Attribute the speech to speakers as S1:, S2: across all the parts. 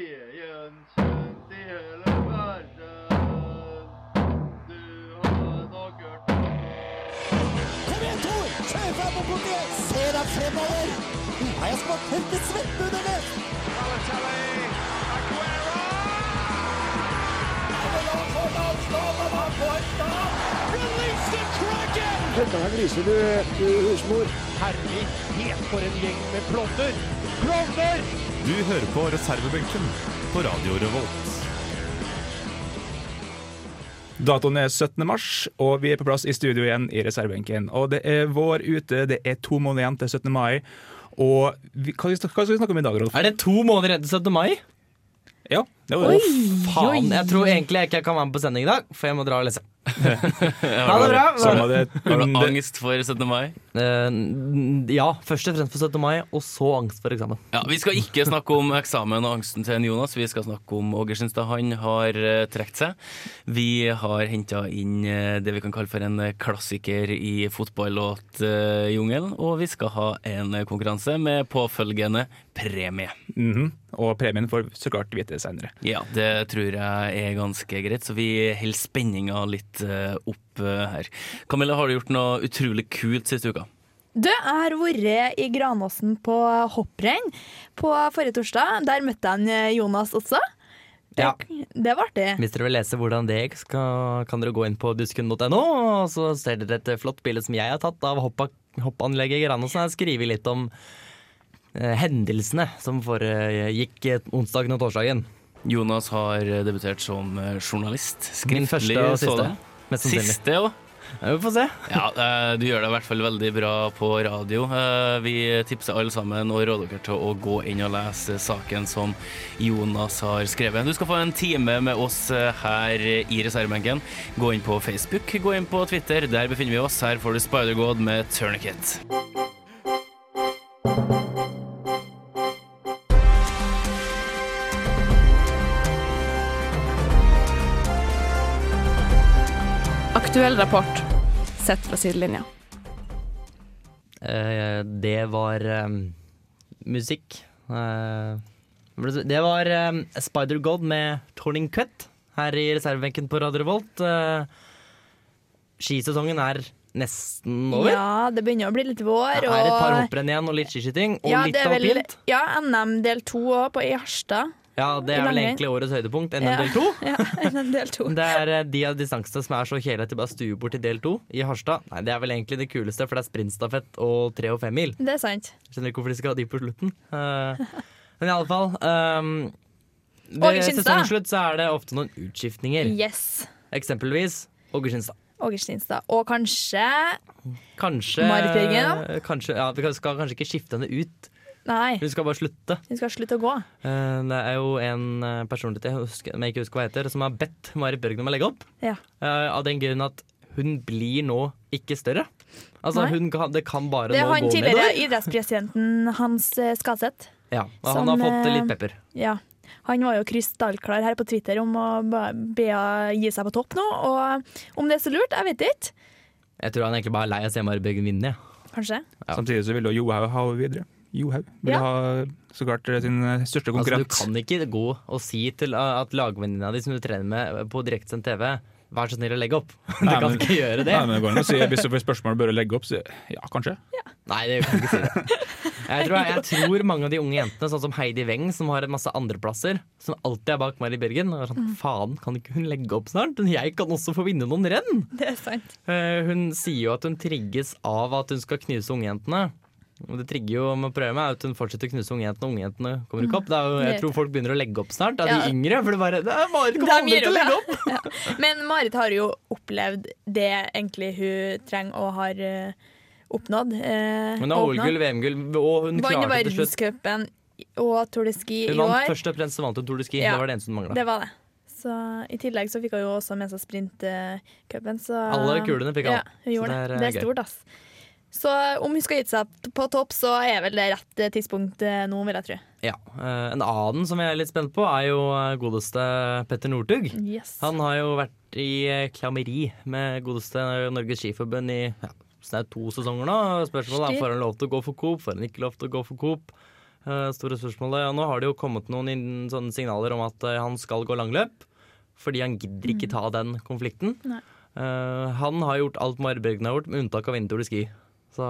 S1: Viljen kjent i hele verden. Du har nok hørt om
S2: Kom igjen, Tor! Kjør fram og bort igjen! Se deg fremover! Nå har jeg smakt tørket svette under det!
S3: Du hører på reservebenken på Radio Revolt.
S4: Datoen er 17. mars, og vi er på plass i studio igjen i reservebenken. Og det er vår ute, det er to måneder igjen til 17. mai. Og vi, hva, skal vi snak- hva skal vi snakke om i dag, Rolf?
S5: Er det to måneder etter 17. mai?
S4: Ja, det var
S6: Oi,
S4: det.
S6: oi.
S5: Faen, jeg tror egentlig jeg ikke kan være med på sending i dag, for jeg må dra og lese. Ha det bra.
S4: Sånn var det.
S7: Har du
S4: det-
S7: angst for 17. mai?
S5: Eh, n- ja, først og fremst for 17. mai, og så angst for eksamen.
S7: Ja, Vi skal ikke snakke om eksamen og angsten til en Jonas. Vi skal snakke om Åge Skinstad. Han har eh, trukket seg. Vi har henta inn eh, det vi kan kalle for en eh, klassiker i fotballåtjungelen. eh, Og vi skal ha en eh, konkurranse med påfølgende premie.
S4: Mhm. Og premien får vi så klart vite senere.
S7: Ja, det tror jeg er ganske greit, så vi holder spenninga litt eh, opp eh, her. Camilla, har du gjort noe utrolig kult siste uka?
S6: Du, jeg har vært i Granåsen på hopprenn på forrige torsdag. Der møtte jeg en, eh, Jonas også. Det,
S5: Ja.
S6: det var artig.
S5: Hvis dere vil lese hvordan det gikk, skal, kan dere gå inn på dusken.no, og så ser dere et flott bilde som jeg har tatt av hoppa, hoppanlegget i Granåsen. Jeg har skrevet litt om eh, hendelsene som foregikk eh, onsdagen og torsdagen.
S7: Jonas har debutert som eh, journalist.
S5: Min
S7: Skriftlig
S5: første og siste.
S7: sådan.
S5: Mest sannsynlig.
S7: Siste òg.
S5: Ja, Vi får se.
S7: Ja, eh, du gjør det i hvert fall veldig bra på radio. Eh, Vi tipser alle sammen og råder dere til å gå inn og lese saken som Jonas har skrevet. Du skal få en time med oss eh, her i reservebenken. Gå inn på Facebook, gå inn på Twitter. Der befinner vi oss. Her får du Spider-God med Tourniquet.
S8: Aktuell rapport sett fra sidelinja.
S5: Eh, det var eh, musikk. Eh, det var eh, Spider-God med Torning Cut her i reservebenken på Radio Revolt. Eh, skisesongen er nesten over.
S6: Ja, det begynner å bli litt vår.
S5: Det er et par
S6: og-
S5: hopprenn igjen og litt skiskyting. Og
S6: ja,
S5: litt
S6: det er vel,
S5: alpint.
S6: ja, NM del to òg, på- i Harstad.
S5: Ja, det
S6: i
S5: er vel
S6: langrenn.
S5: egentlig årets høydepunkt. NM
S6: Ja.
S5: del to.
S6: Ja, NM del to.
S5: Det er eh, de av distansene som er så kjedelige at de bare stuer bort til del to i Harstad. Nei, det er vel egentlig det kuleste, for det er sprintstafett og tre og femmil.
S6: Det er sant.
S5: Skjønner ikke hvorfor de skal ha de på slutten. Eh, men i alle fall um,
S6: Åge
S5: Ved
S6: Skinstad.
S5: sesongslutt så er det ofte noen utskiftninger.
S6: Yes.
S5: Eksempelvis Åge Skinstad.
S6: Åge Stinstad. Og kanskje
S5: Kanskje,
S6: Marit Bjørgen,
S5: kanskje Ja, vi kan- skal kanskje ikke skifte henne ut.
S6: Nei,
S5: Hun skal bare slutte.
S6: hun skal slutte å gå.
S5: Eh, det er jo en eh, personlighet jeg, husker, men jeg ikke husker hva heter, som har bedt Marit Bjørgen om å legge opp.
S6: Ja.
S5: eh, av den grunn at hun blir nå ikke større. Altså,
S6: Nei.
S5: hun kan, det kan bare
S6: Det er
S5: nå
S6: han
S5: gå nedover.
S6: tidligere idrettspresidenten Hans eh, Skadseth.
S5: Ja, og
S6: som,
S5: han har fått eh,
S6: eh,
S5: litt pepper.
S6: Ja. Han var jo krystallklar her på Twitter om å ba- be henne gi seg på topp nå. Og om det er så lurt, jeg vet ikke.
S5: Jeg tror han egentlig bare er lei av å se Marit Bjørgen vinne. Ja.
S6: Kanskje.
S4: Samtidig så ville jo Johaug ha henne videre. Johaug ville
S6: Ja.
S4: ha så klart sin eh, største konkurrent.
S5: Altså, du kan ikke gå og si til uh, at lagvenninna di som du trener med på direktesendt TV, vær så snill å legge opp. Du
S4: Nei,
S5: kan
S4: men-
S5: ikke gjøre det.
S4: Nei, men det går an å si hvis du får spørsmål bør du legge opp, så ja, kanskje.
S5: Nei, det kan du ikke si. det. Jeg tror, jeg tror mange av de unge jentene, sånn som Heidi Weng, som har en masse andreplasser, som alltid er bak Mari Bergen, er sånn faen, kan ikke hun legge opp snart? Jeg kan også få vinne noen renn.
S6: Det er sant.
S5: Eh, Hun sier jo at hun trigges av at hun skal knuse ungjentene. Og det trigger jo med prøve er at hun fortsetter å knuse ungjentene, og ungjentene kommer ikke opp. Det er jo, jeg
S6: det
S5: tror folk begynner å legge opp snart, av
S6: Mm. Ja.
S5: de yngre. For det bare det er Marit
S6: De
S5: kommer aldri
S6: gir
S5: til å
S6: opp,
S5: legge opp!
S6: Men Marit har jo opplevd det egentlig hun trenger og har eh, oppnådd. eh,
S5: Hun har
S6: og oppnådd.
S5: OL-gull, VM-gull, og hun
S6: Vant
S5: klarte det til slutt.
S6: verdenscupen og Tour de Ski i
S5: Hun vant
S6: år.
S5: først og fremst så vant hun Tour de Ski.
S6: Ja.
S5: Det var det eneste hun mangla.
S6: Det var det. Så I tillegg så fikk hun jo også med seg sprintcupen.
S5: Alle kulene fikk hun.
S6: Ja, hun gjorde
S5: det er,
S6: det.
S5: eh,
S6: Det er
S5: gøy.
S6: stort, ass. Så om hun skal gitt seg t- på topp, så er vel det rett eh, tidspunkt eh, nå, vil jeg tro.
S5: Ja. Eh, En annen som jeg er litt spent på, er jo eh, godeste Petter Northug.
S6: Yes.
S5: Han har jo vært i eh, klammeri med godeste Norges Skiforbund i ja, snart to sesonger nå. Spørsmålet er
S6: Styr.
S5: får han lov til å gå for Coop, får han ikke lov til å gå for Coop. eh, store spørsmålet. Og nå har det jo kommet noen inn- sånne signaler om at eh, han skal gå langløp, fordi han gidder ikke ta den konflikten.
S6: Mm. Nei.
S5: Eh, han har gjort alt Mari Bjørgen har gjort, med unntak av vintertur i ski. Så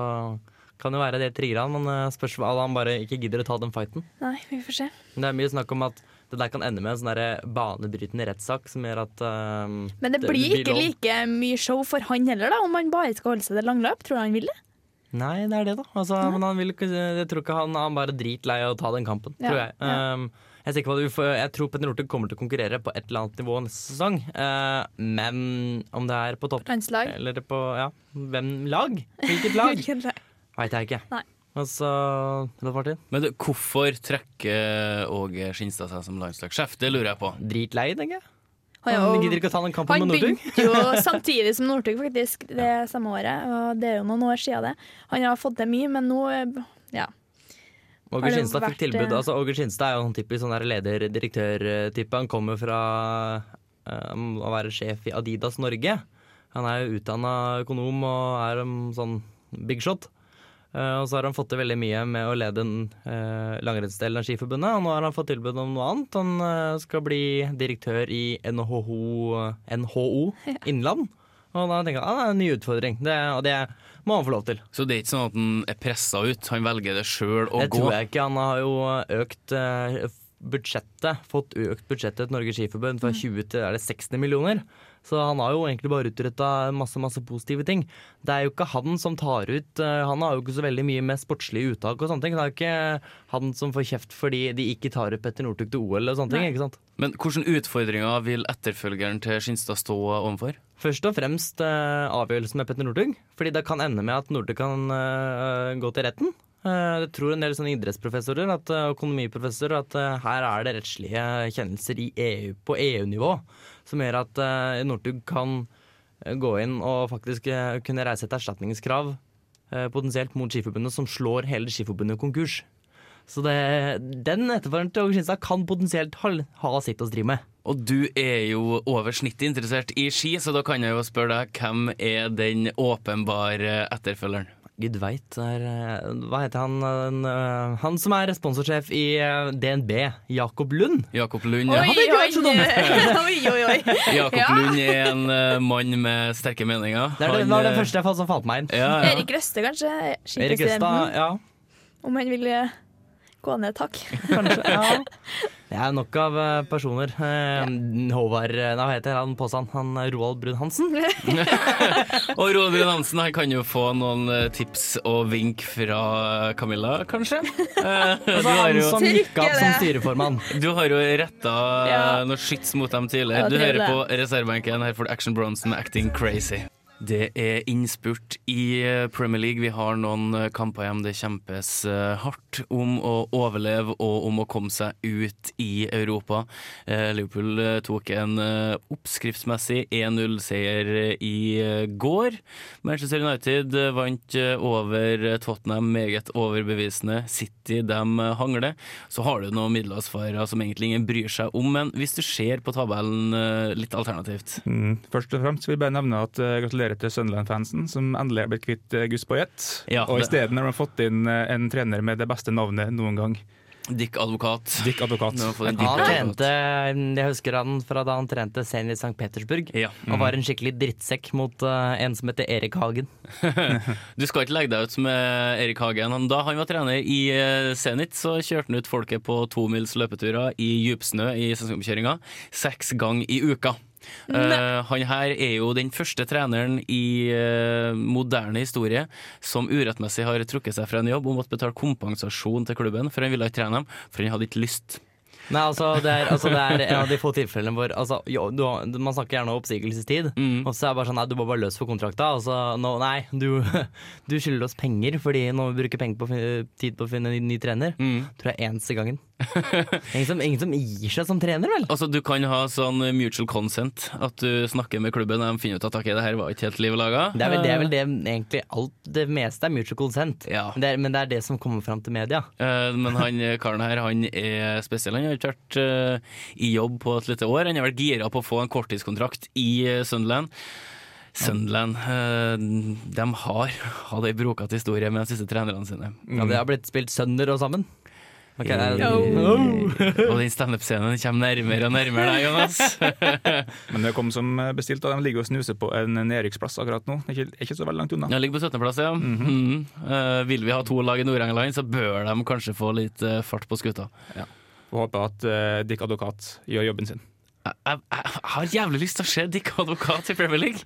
S5: kan jo være det trigger han, men eh, spørs om han bare ikke gidder å ta den fighten.
S6: Nei, vi får se.
S5: Men Det er mye snakk om at det der kan ende med en sånn derre banebrytende rettssak som gjør at eh,
S6: Men det blir ikke
S5: lov.
S6: like mye show for han heller, da, om han bare skal holde seg til langløp. Tror du han vil det?
S5: Nei, det er det, da. Altså, men han vil ikke Jeg tror ikke han, han bare er dritlei av å ta den kampen,
S6: Ja,
S5: tror jeg. Um, jeg, er sikker på at vi får, jeg tror Petter Northug kommer til å konkurrere på et eller annet nivå neste sesong. Eh, men om det er på topp
S6: Landslag?
S5: eller på ja, hvem lag? Hvilket lag? Veit jeg ikke.
S6: Nei.
S5: Altså, Rolf Martin?
S7: Men du, hvorfor trekker eh, Åge Skinstad seg som landslagssjef? Det lurer jeg på.
S5: Dritlei, tenker jeg.
S6: Han,
S5: Han
S6: jo-
S5: gidder ikke å ta den kampen
S6: han
S5: med Northug.
S6: begynte jo samtidig som Northug, faktisk, det samme året. Og det er jo noen år siden det. Han har fått til mye, men nå eh, ja.
S5: Åge
S6: Har det
S5: Skinstad fikk
S6: vært,
S5: tilbud.
S6: eh,
S5: Altså, Åge Skinstad er jo en typisk sånn der leder-direktør-type. Han kommer fra eh, å være sjef i Adidas Norge. Han er jo utdanna økonom og er en sånn big shot. Eh, og så har han fått til veldig mye med å lede en, eh, langrennsdelen av Skiforbundet. Og nå har han fått tilbud om noe annet. Han eh, skal bli direktør i NHO, NHO Innland. Og da tenker jeg at ah, det er en ny utfordring, det, og det må han få lov til.
S7: Så det er ikke sånn at han er pressa ut, han velger det sjøl å
S5: Det
S7: gå.
S5: tror jeg ikke. Han har jo økt eh, budsjettet, fått økt budsjettet til Norges Skiforbund fra 20 til er det 60 millioner. Så han har jo egentlig bare utretta masse masse positive ting. Det er jo ikke han som tar ut eh, Han har jo ikke så veldig mye med sportslige uttak og sånne ting. Det er jo ikke han som får kjeft fordi de ikke tar ut Petter Northug til OL og sånne ting. ikke sant?
S7: Men hvilke utfordringer vil etterfølgeren til Skinstad stå overfor?
S5: Først og fremst eh, avgjørelsen med Petter Northug. Fordi det kan ende med at Northug kan eh, gå til retten. Eh, det tror en del sånne idrettsprofessorer at, eh, økonomiprofessorer at eh, her er det rettslige kjennelser i EU, på EU-nivå som gjør at eh, Northug kan eh, gå inn og faktisk eh, kunne reise et erstatningskrav eh, potensielt mot Skiforbundet, som slår hele Skiforbundet konkurs. Så det, den etterforskeren til Åge Skinstad kan potensielt ha, ha sitt å stri med.
S7: Og du er jo over snittet interessert i ski, så da kan jeg jo spørre deg hvem er den åpenbare etterfølgeren?
S5: Gud veit. det er, eh, Hva heter han den, eh, Han som er sponsorsjef i eh, DNB, Jakob Lund.
S7: Jakob Lund.
S6: Oi,
S7: Ja.
S6: oi, oi, oi, oi.
S7: Jakob Lund er en eh, mann med sterke meninger.
S5: Det er det,
S7: Han,
S5: var det
S7: eh,
S5: første jeg falt, som falt meg inn.
S7: Ja, ja.
S6: Erik Røste, kanskje?
S5: Erik Østad,
S6: Skipresidenten.
S5: ja.
S6: Om han vil eh, gå ned et hakk.
S5: Kanskje. ja. Det er nok av eh, personer. Eh, Håvard eh, Nei, hva heter han påsan? Han eh, Roald Brun Hansen?
S7: Og Roald Brun Hansen han kan jo få noen eh, tips og vink fra Camilla, kanskje? Eh, Du har
S5: Han
S7: jo,
S5: som gikk av som
S6: Trykker
S5: styreformann.
S7: du har jo retta
S6: Ja.
S7: noe skyts mot dem
S6: Ja,
S7: tidligere. Du
S6: det er
S7: hører på reservebenken. Her får du Action Bronson med Acting Crazy. Det er innspurt i eh, Premier League. Vi har noen eh, kamper igjen. Det kjempes eh, hardt om å overleve og om å komme seg ut i Europa. Eh, Liverpool eh, tok en eh, oppskriftsmessig 1-0-seier i eh, går. Manchester United eh, vant eh, over eh, Tottenham meget overbevisende. City dem eh, hangler. Så har du noen middelhavsfarere som egentlig ingen bryr seg om, men hvis du ser på tabellen eh, litt alternativt
S4: Mm. Først og fremst vil jeg bare nevne at eh, gratulerer til Sunderland-fansen, som endelig har blitt kvitt eh, Gus Poyet.
S7: Ja,
S4: og
S7: det-
S4: isteden har de fått inn eh, en trener med det beste navnet noen gang.
S7: Dick Advokat.
S4: Dick Advokat.
S7: Nå får jeg
S5: Han
S7: Dick
S5: trente,
S7: Advokat.
S5: jeg husker han fra da han trente Zenit St. Petersburg.
S7: Ja. Mm.
S5: Og var en skikkelig drittsekk mot eh, en som heter Erik Hagen.
S7: Du skal ikke legge deg ut med Erik Hagen. Han- Da han var trener i eh, Zenit, så kjørte han ut folket på tomils løpeturer i djupsnø i sesongomkjøringa seks ganger i uka. Eh, han her er jo den første treneren i eh, moderne historie som urettmessig har trukket seg fra en jobb og måtte betale kompensasjon til klubben, for han ville ikke trene dem, for han hadde ikke lyst.
S5: Nei, altså det, er, altså det er en av de få tilfellene hvor altså, jo, du, har- Man snakker gjerne om oppsigelsestid, og så er det bare sånn Nei, du må bare løs for kontrakta. Og så nå, nei, du, du skylder oss penger fordi nå må vi bruker penger på å fin- tid på å finne en ny, ny trener. Tror jeg eneste gangen. ingen, som, ingen som gir seg som trener, vel?
S7: Altså, du kan ha sånn mutual consent, at du snakker med klubben og de finner ut at ok, det her var ikke helt liv laga.
S5: Det er vel det, er vel det egentlig alt Det meste er mutual consent.
S7: Ja.
S5: Det er, men det er det som kommer fram til media.
S7: Eh, Men han eh, karen her, han er spesiell. Han har ikke vært eh, i jobb på et lite år. Han har vært gira på å få en korttidskontrakt i eh, Sunderland. Sunderland eh, de har hatt ei brokete historie med de siste trenerne sine.
S5: Ja, det har blitt spilt sønder og sammen. Ok, eh, er det-
S8: Oh.
S7: Og den standup-scenen kommer nærmere og nærmere deg, Jonas.
S4: Men det kom som eh, bestilt, og de ligger og snuser på en nedrykksplass akkurat nå. Ikke, ikke så veldig langt unna.
S7: Jeg ligger på 17.-plass, ja. Mhm. Eh, vil vi ha to lag i Nord-England, så bør de kanskje få litt eh, fart på skuta.
S4: Får håpe at eh, Dick Advokat gjør jobben sin.
S7: Jeg, jeg, jeg har jævlig lyst til å se Dick Advokat i Premier League.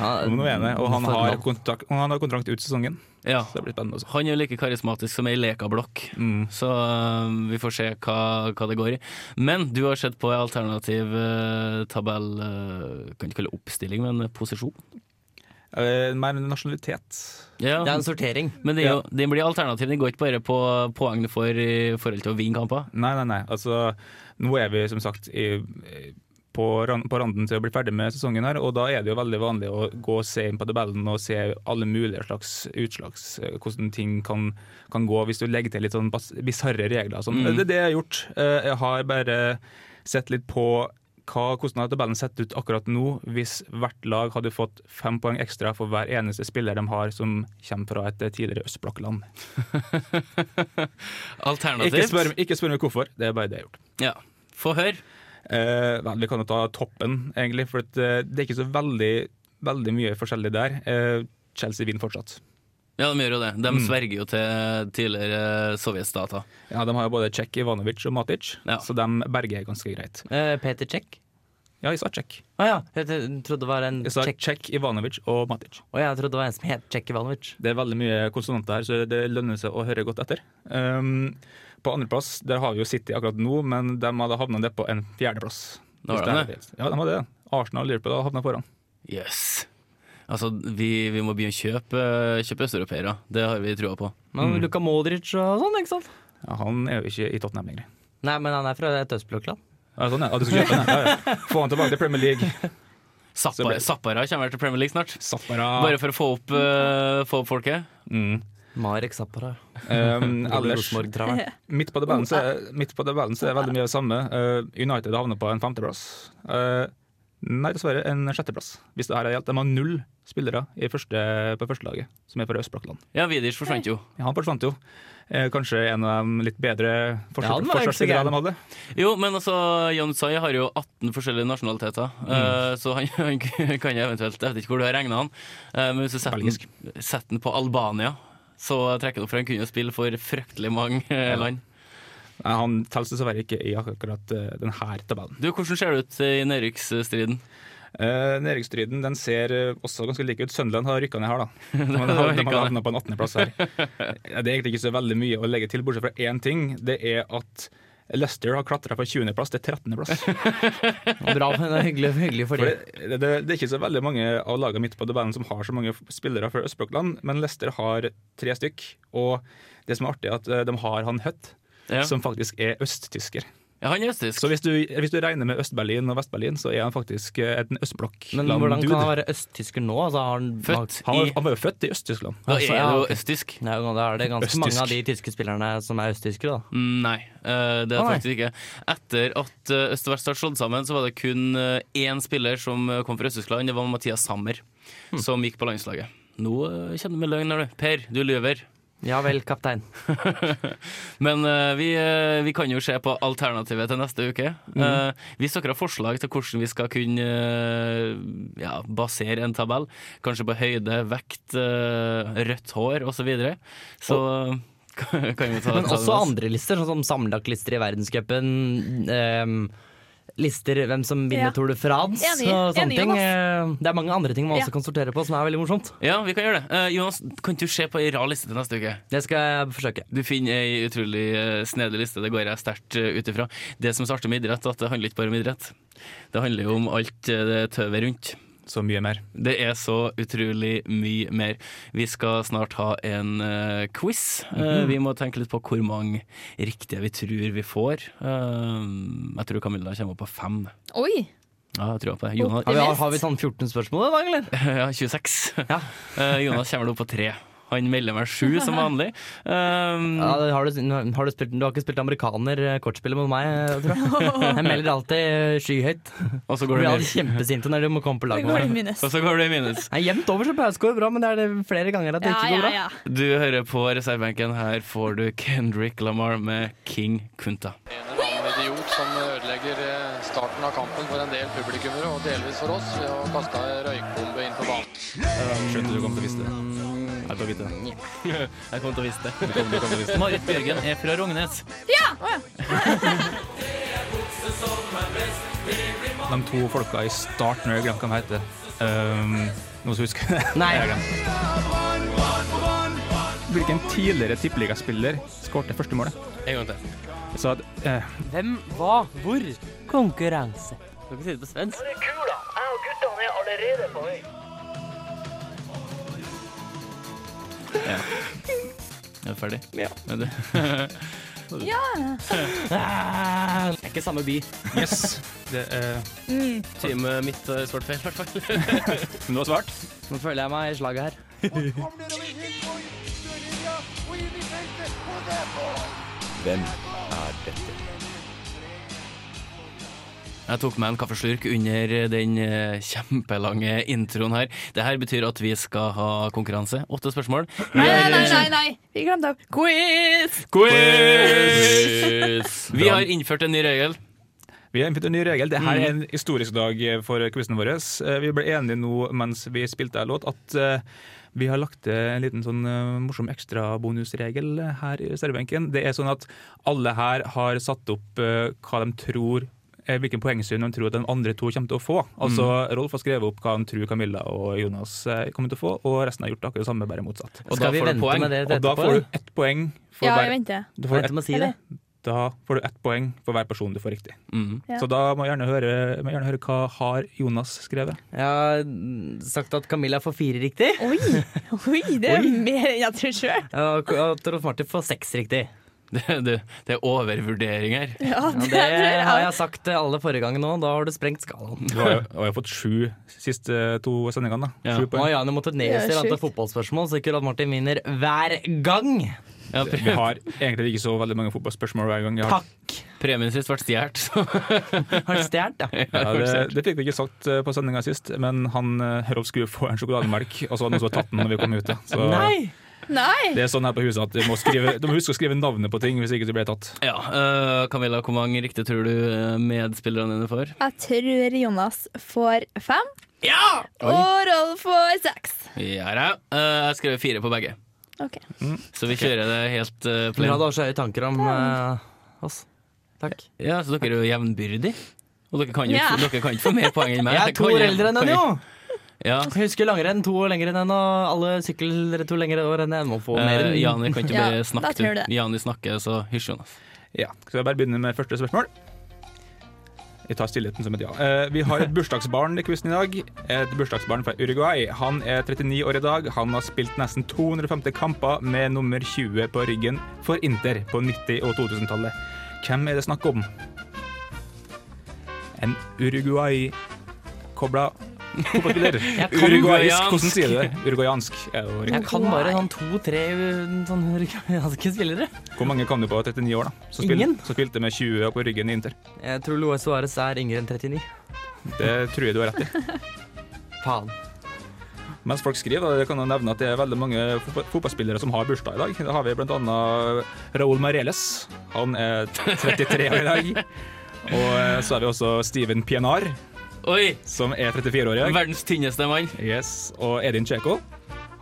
S5: Ja,
S4: Om noe ene, og han
S5: for
S4: har,
S5: land.
S4: kontrakt, og han har kontrakt ut sesongen,
S7: Ja.
S4: så det blir spennende. Også.
S7: Han er jo like karismatisk som ei leka blokk,
S4: Mm.
S7: så eh, vi får se hva, hva det går i. Men du har sett på ei alternativ eh, tabell eh, Kan ikke kalle det oppstilling, men posisjon.
S4: Eh, mer nasjonalitet.
S7: Ja.
S5: Det er en sortering.
S7: Men det, er jo, det blir alternativ. Den går ikke bare på poeng du får i forhold til å vinne kamper.
S4: Nei, nei, nei. Altså, nå er vi som sagt i, i- på, ran- på randen til å bli ferdig med sesongen her, og da er det jo veldig vanlig å gå og se inn på tabellen og se alle mulige slags utslags, eh, hvordan ting kan, kan gå hvis du legger til litt sånn bas- bisarre regler og sånn.
S7: Mm.
S4: Det er det jeg har gjort. Eh, Jeg har bare sett litt på hva, hvordan hadde tabellen sett ut akkurat nå hvis hvert lag hadde fått fem poeng ekstra for hver eneste spiller de har som kommer fra et eh, tidligere østblokkland?
S7: Alternativt.
S4: Ikke spør, ikke spør meg hvorfor, det er bare det jeg har gjort.
S7: Ja. Få høre.
S4: Eh, vel, vi kan jo ta toppen, egentlig, for at, eh, det er ikke så veldig, veldig mye forskjellig der. Eh, Chelsea vinner fortsatt.
S7: Ja, de gjør jo det. De
S4: Mm.
S7: sverger jo til eh, tidligere sovjetstater.
S4: Ja, De har jo både Cech, Ivanovic og Matic,
S7: Ja.
S4: så de berger ganske greit.
S5: Eh, Peter Check.
S4: Ja, jeg sa Cech.
S5: Å ja, jeg t- trodde det var en
S4: Jeg sa
S5: Check.
S4: Cech, Ivanovic og Matic.
S5: Å, jeg trodde det var en som het Check Ivanovic.
S4: Det er veldig mye konsonanter her, så det lønner seg å høre godt etter. Um, på andreplass der har vi jo City akkurat nå, men de hadde havna ned på en fjerdeplass.
S7: Nå
S4: Hvis
S7: har de
S4: det er- Ja, de hadde det. Arsenal og Liverpool hadde havna foran.
S7: Jøss. Yes. Altså, vi, vi må begynne å kjøpe, eh, kjøpe østeuropeere. Det har vi trua på.
S5: Men Luka Modric og sånn, ikke sant?
S4: Ja, han er jo ikke i Tottenham lenger.
S5: Nei, men han er fra et østblokkland.
S4: Ja, sånn, ja. Ja, du skal kjøpe den, ja. ja, ja. Få han tilbake til Premier League. Så
S7: Zappa,
S4: ble-
S7: Zappara kommer vel til Premier League snart.
S4: Zappara.
S7: Bare for å få opp, eh, få opp folket.
S4: Mm.
S5: Marek Zappara.
S4: Um, ellers,
S5: Rosenborg-traveren.
S4: midt på tabellen så er- midt på tabellen så er det veldig mye det samme. Uh, United havner på en femteplass. Uh, nei, dessverre en sjetteplass, hvis det her hadde gjeldt. De har null spillere i første, på førstelaget, som er fra Østblokkland.
S7: Ja, Vidic forsvant jo.
S4: Ja, han forsvant jo. Eh, kanskje en av de litt bedre forsvars-
S5: Ja, han var ikke så
S4: forsvarsspillere de
S5: gæren.
S4: hadde.
S7: Jo, men altså, John Tsai har jo 18 forskjellige nasjonaliteter,
S4: Mm.
S7: eh, så han, han kan jo eventuelt Jeg vet ikke hvor du har regna han, eh, men hvis du setter
S4: Belgisk.
S7: den, setter den på Albania, så trekker du opp for han kunne jo spille for fryktelig mange eh, land.
S4: Nei, han telles dessverre ikke i akkurat eh, denne tabellen.
S7: Du, Hvordan ser det ut i nedrykksstriden?
S4: Uh, Nedrykksstriden den ser eh, også ganske lik ut. Sunderland har rykka ned her, da. De
S7: har
S4: har, de
S7: rykket
S4: har
S7: ned.
S4: havnet på en 18.-plass her. Ja, Det er egentlig ikke så veldig mye å legge til, bortsett fra én ting. Det er at Leicester har klatra fra 20.-plass til 13.-plass.
S5: Bra, men det er hyggelig, hyggelig for
S4: For
S5: dem.
S4: det, det, det er ikke så veldig mange av lagene midt på tabellen som har så mange spillere fra Østblokkland, men Leicester har tre stykk. Og det som er artig, er at eh, de har han Hutt,
S7: Ja.
S4: som faktisk er østtysker.
S7: Ja, han er østtysk.
S4: Så hvis du, hvis du regner med Øst-Berlin og Vest-Berlin, så er han faktisk eh, en østblokk-land-dude.
S5: Men hvordan kan han være østtysker nå? Altså, har han
S7: Født
S4: Han var,
S7: i
S4: han var jo født i Øst-Tyskland.
S7: Da
S5: Altså,
S7: er det
S5: ja,
S7: jo
S5: ok.
S7: østtysk.
S5: Nei, da er det ganske
S4: Østtysk.
S5: mange av de tyske spillerne som er østtyskere, da.
S7: Mm, Nei, eh, det er
S5: Å, nei.
S7: faktisk ikke. Etter at eh, øst og vest har slått sammen, så var det kun eh, én spiller som eh, kom fra Øst-Tyskland. Det var Mathias Sammer,
S5: Hmm.
S7: som gikk på landslaget. Nå eh, kjenner du med løgn, her, du. Per, du lyver.
S5: Ja vel, kaptein.
S7: Men eh, vi, eh, vi kan jo se på alternativet til neste uke.
S5: Hmm.
S7: Eh, hvis dere har forslag til hvordan vi skal kunne eh, ja, basere en tabell, kanskje på høyde, vekt, eh, rødt hår osv., så, videre, så eh, kan vi ta, ta det
S5: Men også
S7: med oss.
S5: andre lister, sånn som sammenlagtlister i verdenscupen. ehm, lister hvem som vinner
S6: Ja.
S5: Tour de France
S6: Enig.
S5: og sånne
S6: Enig,
S5: ting.
S6: Jonas.
S5: Eh, Det er mange andre ting man
S6: Ja.
S5: også kan sortere på, som er veldig morsomt.
S7: Ja, vi kan gjøre det. Eh, Jonas, kan ikke du se på ei rar liste til neste uke?
S5: Det skal jeg forsøke.
S7: Du finner ei utrolig eh, snedig liste, det går jeg sterkt eh, ut ifra. Det som er så artig med idrett, er at det handler ikke bare om idrett. Det handler jo om alt eh, det tøvet rundt.
S4: Så mye mer.
S7: Det er så utrolig mye mer. Vi skal snart ha en eh, quiz. Eh, vi må tenke litt på hvor mange riktige vi tror vi får. Eh, jeg tror Camilla kommer opp på fem.
S6: Oi!
S7: Ja, jeg tror på det. Jonas,
S5: Har vi, har vi sånn 14 spørsmål i dag, eller?
S7: ja, 26.
S5: Ja.
S7: Eh, Jonas kommer opp på tre. Han melder meg sju, som vanlig. Um,
S5: Ja, det har du, har du, spilt, du har ikke spilt amerikaner eh, kortspillet mot meg, eh, tror jeg. Jeg melder alltid eh, skyhøyt.
S7: og så går
S5: Blir
S7: det
S5: alltid
S7: ned.
S5: kjempesinte når du må komme på lag
S6: Det
S5: med
S6: går i
S5: meg.
S6: minus.
S7: Og så går det i minus.
S5: Nei, Jevnt over så pause går det bra, men det er det flere ganger at det
S6: Ja,
S5: ikke går
S6: ja,
S5: bra.
S6: ja.
S7: Du hører på reservebenken. Her får du Kendrick Lamar med King Kunta.
S9: En eller annen idiot som ødelegger eh, starten av kampen for en del publikummere, og delvis for oss, ved å kaste ei røykbombe inn på banen.
S4: Skjønte du kom til å vise det.
S7: Jeg kommer til å vite det. Jeg Mm. kommer til å vise det. Marit Bjørgen er fra Rognes.
S4: De to folka i starten, jeg glemte hva de heter. Um, noen som husker det?
S5: Nei.
S4: Jeg har glemt. Hvilken tidligere tippeligaspiller skårte første målet?
S7: En gang til.
S4: Så at, eh,
S10: Hvem, hva, hvor? Konkurranse.
S7: Skal ikke si det på svensk. Er du ferdig? Ja. Er du?
S5: Ah, Det er ikke samme by.
S4: yes. Det, eh,
S7: Teamet mitt har svart feil, i hvert fall.
S4: men du har svart?
S5: Nå føler jeg meg i slaget her.
S7: Jeg tok meg en kaffeslurk under den eh, kjempelange introen her. Det her betyr at vi skal ha konkurranse. Åtte spørsmål.
S6: Nei, nei, nei, nei, nei. Vi glemte av quiz!
S7: Quiz! Vi har innført en ny regel.
S4: Vi har innført en ny regel. Dette er en historisk dag for quizen vår. Eh, Vi ble enige nå mens vi spilte en låt, at eh, vi har lagt til en liten sånn eh, morsom ekstrabonusregel her i servebenken. Det er sånn at alle her har satt opp eh, hva de tror eh, hvilken poengsum de tror at de andre to kommer til å få. Altså, Rolf har skrevet opp hva han tror Camilla og Jonas eh, kommer til å få, og resten har gjort akkurat det samme, bare motsatt.
S7: Og
S5: Skal
S7: da
S5: vi
S7: får du
S5: vente
S7: poeng.
S5: med det
S4: Og
S5: til
S4: da
S5: etterpå?
S4: får du ett poeng for
S6: Ja, jeg
S4: hver
S6: venter.
S4: du
S5: eller?
S4: får
S5: Vente
S4: ett,
S5: med å si det.
S4: Da får du ett poeng for hver person du får riktig.
S7: Mm.
S6: Ja.
S4: Så da må jeg gjerne høre, må jeg gjerne høre hva har Jonas skrevet.
S5: Jeg har mm, sagt at Camilla får fire riktig,
S6: Oi, oi, det er mer enn jeg tror sjøl.
S5: og at Rolf Martin får seks riktig.
S7: Det, det, det er overvurdering her.
S6: Ja,
S5: Ja,
S6: det
S5: det
S6: tror jeg.
S5: har jeg sagt eh, alle forrige ganger nå, da har du sprengt skalaen.
S4: Du har jo og jeg har fått sju siste eh, to sendingene. da.
S7: Ja.
S4: Sju
S5: Nå har
S4: poeng.
S5: Janne måttet
S6: Det er
S5: nedjustere
S6: sjukt.
S5: antall fotballspørsmål, så ikke Rolf Martin vinner hver gang.
S7: Ja, pre
S4: Vi har egentlig ikke så veldig mange fotballspørsmål hver gang. Jeg har.
S5: Takk!
S7: premien sist ble stjålet, så
S5: Har du stjålet, ja?
S4: Ja, det, det fikk vi ikke sagt eh, på sendinga sist, men han eh, Rolf skulle få en sjokolademelk, og så var det noen som hadde tatt den når vi kom ut. da. Så
S5: Nei!
S6: Nei!
S4: det er sånn her på huset at du må, skrive, du må huske å skrive navnet på ting hvis ikke du blir tatt.
S7: ja. eh, Camilla, hvor mange riktig tror du eh, medspillerne dine får?
S6: Jeg tror Jonas får fem. Og Rolf får seks.
S7: Ja da. Eh, jeg skrev fire på begge,
S6: Ok.
S7: så vi kjører det helt uh,
S5: Bra
S7: plain.
S5: du har så høye tanker om eh, oss. Takk.
S7: Ja, så dere er jo jevnbyrdige. Og dere kan jo
S6: Ja.
S7: ikke, dere kan ikke få mer poeng enn meg.
S5: Jeg er
S7: Det
S5: to
S7: kan
S5: år eldre enn
S7: kan
S5: henne, jo!
S7: Ja.
S5: Jeg Husker langrenn to år lenger enn henne, og alle sykler to lenger år enn henne. Må få
S7: Uh,
S5: mer enn
S7: Jani kan ikke
S6: Ja,
S7: bare
S6: da
S7: snakke.
S6: tror
S7: du.
S6: jeg det.
S7: Jani snakker, så hysj, Jonas.
S4: Ja, Skal jeg bare begynne med første spørsmål? Jeg tar stillheten som et ja. Eh, vi har et bursdagsbarn i quizen i dag. Et bursdagsbarn fra Uruguay. Han er 39 år i dag. Han har spilt nesten 250 kamper med nummer 20 på ryggen for Inter på 90- og 2000-tallet. Hvem er det snakk om? En Uruguay-kobla fotballspiller.
S5: kan
S4: Uruguayisk, hvordan sier du det? Uruguayansk. er jo riktig.
S5: Jeg kan bare sånn to-tre sånn hurrikanske spillere.
S4: Hvor mange kan du på 39 år, da? Som spilte,
S5: Ingen.
S4: som spilte med 20 på ryggen i Inter.
S5: Jeg tror Luis Suárez er yngre enn 39.
S4: Det tror jeg du har rett i.
S5: Faen.
S4: Mens folk skriver, da, jeg kan jo nevne at det er veldig mange fotba- fotballspillere som har bursdag i dag. Da har vi blant annet Raúl Mareles. Han er 33 år i dag. Og eh, så har vi også Steven Pienaar,
S7: Oi!
S4: som er 34 år i dag.
S7: Verdens tynneste mann.
S4: Yes. Og Edin Cheko.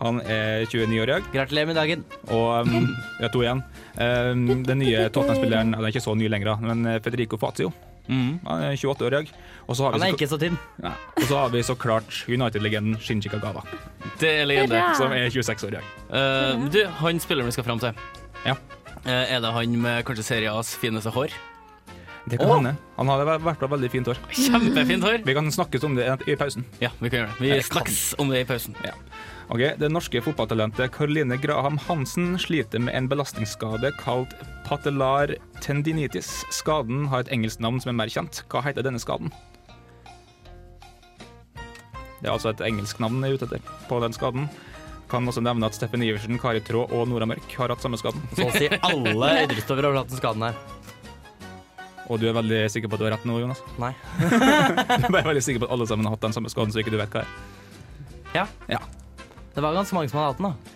S4: Han er 29 år i dag.
S5: Gratulerer med dagen.
S4: Og um, vi har to igjen. Um, den nye Tottenham-spilleren Han er ikke så ny lenger, da, men eh, Federico Fazio. Han er 28 år i dag. Og så har
S5: Mm. Han
S4: vi
S5: er
S4: så,
S5: ikke så tynn.
S4: Nei. og så, har vi så klart United-legenden Shinji Kagawa,
S7: Det er legende.
S5: Ah.
S6: Hurra!
S4: som er 26 år i dag.
S7: Eh, du, han spilleren vi skal fram til.
S4: Ja.
S7: Eh, er det han med kanskje Serie A's fineste hår?
S4: Det kan hende. Han har i hvert fall veldig fint hår.
S7: Kjempefint hår!
S4: Vi kan snakkes om det i pausen.
S7: Ja, vi kan gjøre det. Vi snakkes om det i pausen. Eh,
S4: Ok, Det norske fotballtalentet Caroline Graham Hansen sliter med en belastningsskade kalt patellar tendinitis. Skaden har et engelsk navn som er mer kjent. Hva heter denne skaden? Det er altså et engelsk navn jeg er ute etter på den skaden. Kan også nevne at Steffen Iversen, Kari Trå og Nora Mørk har hatt samme skaden.
S5: Så å si alle idrettsutøvere har hatt den skaden her.
S4: Og du er veldig sikker på at du har rett nå, Jonas?
S5: Nei.
S4: Jeg er bare veldig sikker på at alle sammen har hatt den samme skaden, så ikke du vet hva det er.
S5: Det var ganske mange som hadde hatt den, da.